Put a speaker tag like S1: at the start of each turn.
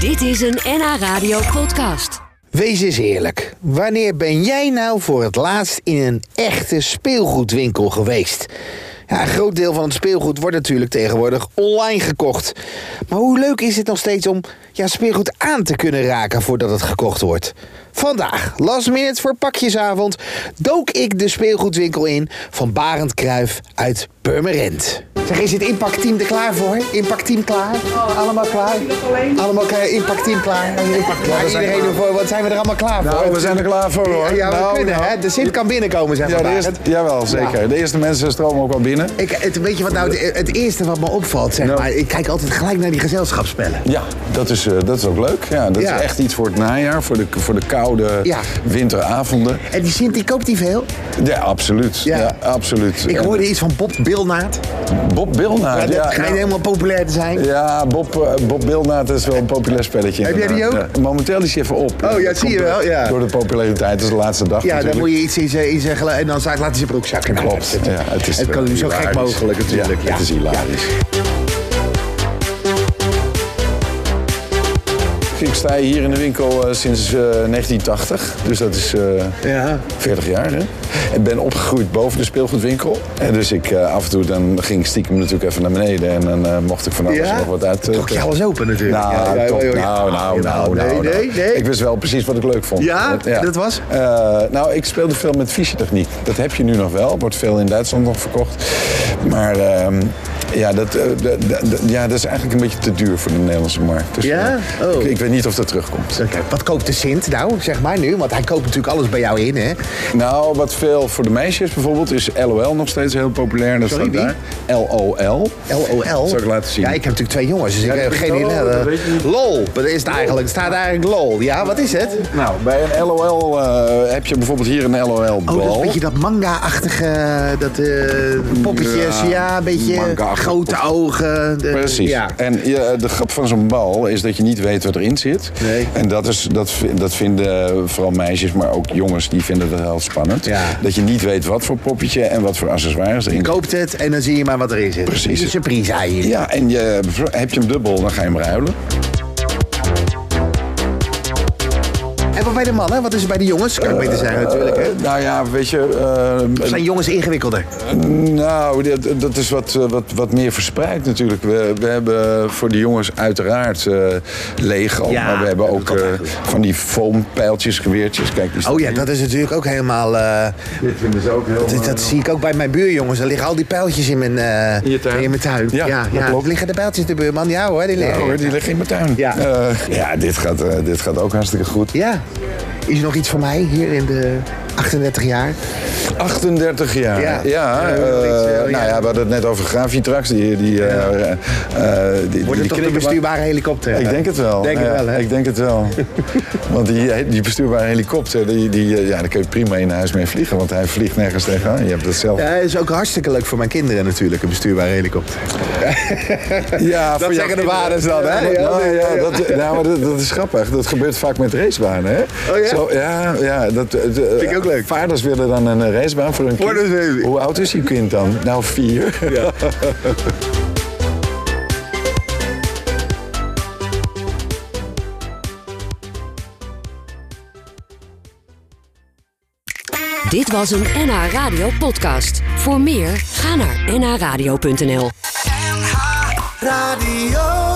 S1: Dit is een NH Radio podcast.
S2: Wees eens eerlijk. Wanneer ben jij nou voor het laatst in een echte speelgoedwinkel geweest? Ja, een groot deel van het speelgoed wordt natuurlijk tegenwoordig online gekocht. Maar hoe leuk is het nog steeds om ja, speelgoed aan te kunnen raken voordat het gekocht wordt? Vandaag, last minute voor pakjesavond, dook ik de speelgoedwinkel in van Barend Kruif uit Purmerend. Zeg, is het impactteam er klaar voor? Impactteam klaar? Allemaal klaar? Allemaal klaar? Impactteam klaar? Impact klaar? Iedereen ervoor? Wat zijn we er allemaal klaar voor?
S3: Nou, we zijn er klaar voor hoor.
S2: Ja, we
S3: Nou,
S2: kunnen
S3: nou.
S2: hè. De Sint kan binnenkomen, zeg
S3: Ja,
S2: maar.
S3: de eerste, jawel, zeker. De eerste mensen stromen ook wel binnen.
S2: Ik, het, weet je wat nou het, het eerste wat me opvalt, zeg
S3: Nou.
S2: maar? Ik kijk altijd gelijk naar die gezelschapsspellen.
S3: Ja, dat is, eh, dat is ook leuk. Ja, dat
S2: Ja.
S3: is echt iets voor het najaar, voor de, voor de koude
S2: Ja.
S3: winteravonden.
S2: En die Sint, die koopt die veel?
S3: Ja, absoluut.
S2: Ja.
S3: Ja. absoluut.
S2: Ik
S3: En
S2: hoorde iets van Bob Bilnaert.
S3: Bob Bilnaert.
S2: dat
S3: Ja,
S2: schijnt
S3: ja.
S2: helemaal populair te zijn.
S3: Ja, Bob, eh, Bob Bilnaert is wel een populair spelletje.
S2: Heb jij die Oh,
S3: inderdaad. Ja, momenteel is hij even op.
S2: ja,
S3: Dat
S2: zie
S3: komt
S2: je wel,
S3: door-
S2: ja.
S3: Door de populariteit, dat is de laatste dag
S2: Ja, daar
S3: natuurlijk.
S2: moet je iets in zeggen. In zijn gela- en dan laat hij zijn broekzak in de hand
S3: Klopt. Ja,
S2: zitten.
S3: het is eh,
S2: het kan nu zo gek
S3: hilarisch.
S2: mogelijk natuurlijk.
S3: Ja, het is hilarisch. Ik sta hier in de winkel eh, sinds eh, 1980, dus dat is eh,
S2: Ja.
S3: 40 jaar. Hè? Ik ben opgegroeid boven de speelgoedwinkel. En dus ik, eh, af en toe dan ging ik stiekem natuurlijk even naar beneden en dan eh, mocht ik van alles
S2: Ja?
S3: nog wat uit. eh,
S2: Trok je alles open natuurlijk.
S3: nou,
S2: Ja, ja,
S3: top.
S2: ja, ja.
S3: nou, nou, nou,
S2: Nee,
S3: nou, nou.
S2: nee, nee.
S3: Ik wist wel precies wat ik leuk vond.
S2: Ja? En dat was?
S3: Eh, nou, ik speelde veel met fysiotechniek. Dat heb je nu nog wel. Wordt veel in Duitsland nog verkocht. Maar ehm, ja, dat, eh, d- d- d- ja, dat is eigenlijk een beetje te duur voor de Nederlandse markt. Dus,
S2: Ja?
S3: eh,
S2: Oh.
S3: ik, ik weet niet of dat terugkomt.
S2: Kijk, Wat koopt de Sint nou, zeg maar nu? Want hij koopt natuurlijk alles bij jou in, hè?
S3: Nou, wat veel voor de meisjes bijvoorbeeld is LOL nog steeds heel populair. Dat
S2: Sorry,
S3: staat daar. LOL.
S2: LOL.
S3: Zal ik laten zien.
S2: Ja, ik heb natuurlijk twee jongens, dus ik
S3: dat
S2: heb
S3: is
S2: geen
S3: lol,
S2: idee.
S3: dat weet je niet.
S2: Lol, wat is het eigenlijk? Het staat eigenlijk lol. Ja, wat is het?
S3: Nou, bij een LOL eh, heb je bijvoorbeeld hier een LOL-bal.
S2: Oh, dat is een beetje dat manga-achtige, dat eh, poppetjes, ja,
S3: Ja,
S2: een beetje
S3: manga-achtig
S2: grote ogen. de-
S3: Precies.
S2: Ja.
S3: En je- de grap van zo'n bal is dat je niet weet wat erin zit.
S2: Nee.
S3: En dat, is, dat, vi- dat vinden vooral meisjes, maar ook jongens, die vinden dat heel spannend.
S2: Ja.
S3: Dat je niet weet wat voor poppetje en wat voor accessoires erin
S2: Je koopt het en dan zie je maar wat erin zit.
S3: Precies.
S2: Het is Een surprise eigenlijk.
S3: Ja, en je, heb je hem dubbel, dan ga je hem ruilen.
S2: En wat bij de mannen? Wat is er bij de jongens? Kan ik beter zeggen natuurlijk. Hè?
S3: Eh, nou ja, weet je... eh,
S2: Zijn jongens ingewikkelder?
S3: Nou, dat, dat is wat, eh, wat, wat meer verspreid natuurlijk. We, we hebben voor de jongens uiteraard eh, Lego.
S2: Ja,
S3: maar we hebben
S2: dat
S3: ook
S2: kan
S3: eh,
S2: eigenlijk.
S3: van die foampijltjes, geweertjes. Kijk, die
S2: Oh ja, dat is natuurlijk ook helemaal... eh,
S3: Dit vinden ze ook heel eh,
S2: dat, dat zie ik ook bij mijn buurjongens. Er liggen al die pijltjes in mijn, eh,
S3: In je tuin?
S2: mijn tuin.
S3: Ja, dat klopt.
S2: Liggen de pijltjes de buurman? Ja hoor, die
S3: Ja,
S2: liggen.
S3: Oh, hoor, die liggen in mijn tuin.
S2: Ja.
S3: Eh, ja dit, gaat, eh, dit gaat ook hartstikke goed.
S2: Ja. Is er nog iets voor mij hier in de 38 jaar?
S3: 38 jaar.
S2: Ja.
S3: Ja,
S2: Ja,
S3: eh,
S2: wel iets, eh,
S3: nou
S2: ja.
S3: ja, we hadden het net over Gravitrax. Die, die, eh, eh, die- die,
S2: Wordt
S3: die
S2: het toch een
S3: knikken-
S2: bestuurbare helikopter?
S3: Ik denk het wel.
S2: Denk
S3: Ja,
S2: het wel, hè?
S3: Ik denk het wel. want die, eh, die bestuurbare helikopter, die, die, eh, ja, daar kun je prima in huis mee vliegen. Want hij vliegt nergens tegenaan. Je hebt dat zelf.
S2: Ja, dat is ook hartstikke leuk voor mijn kinderen natuurlijk, een bestuurbare helikopter.
S3: Ja,
S2: Dat zeggen de vaders dan, hè?
S3: Ja, nou,
S2: Ja, ja,
S3: ja, dat, nou, maar dat, dat is grappig. Dat gebeurt vaak met racebanen, hè?
S2: Oh, ja?
S3: Zo, ja, ja dat, Vind
S2: ik ook leuk.
S3: Vaders willen dan een eh, racebaan voor hun
S2: Voor
S3: kind.
S2: hun baby.
S3: Hoe oud is je kind dan? Nou, vier.
S1: Dit was een NH Radio podcast. Voor meer, ga naar nhradio.nl.
S4: Radio.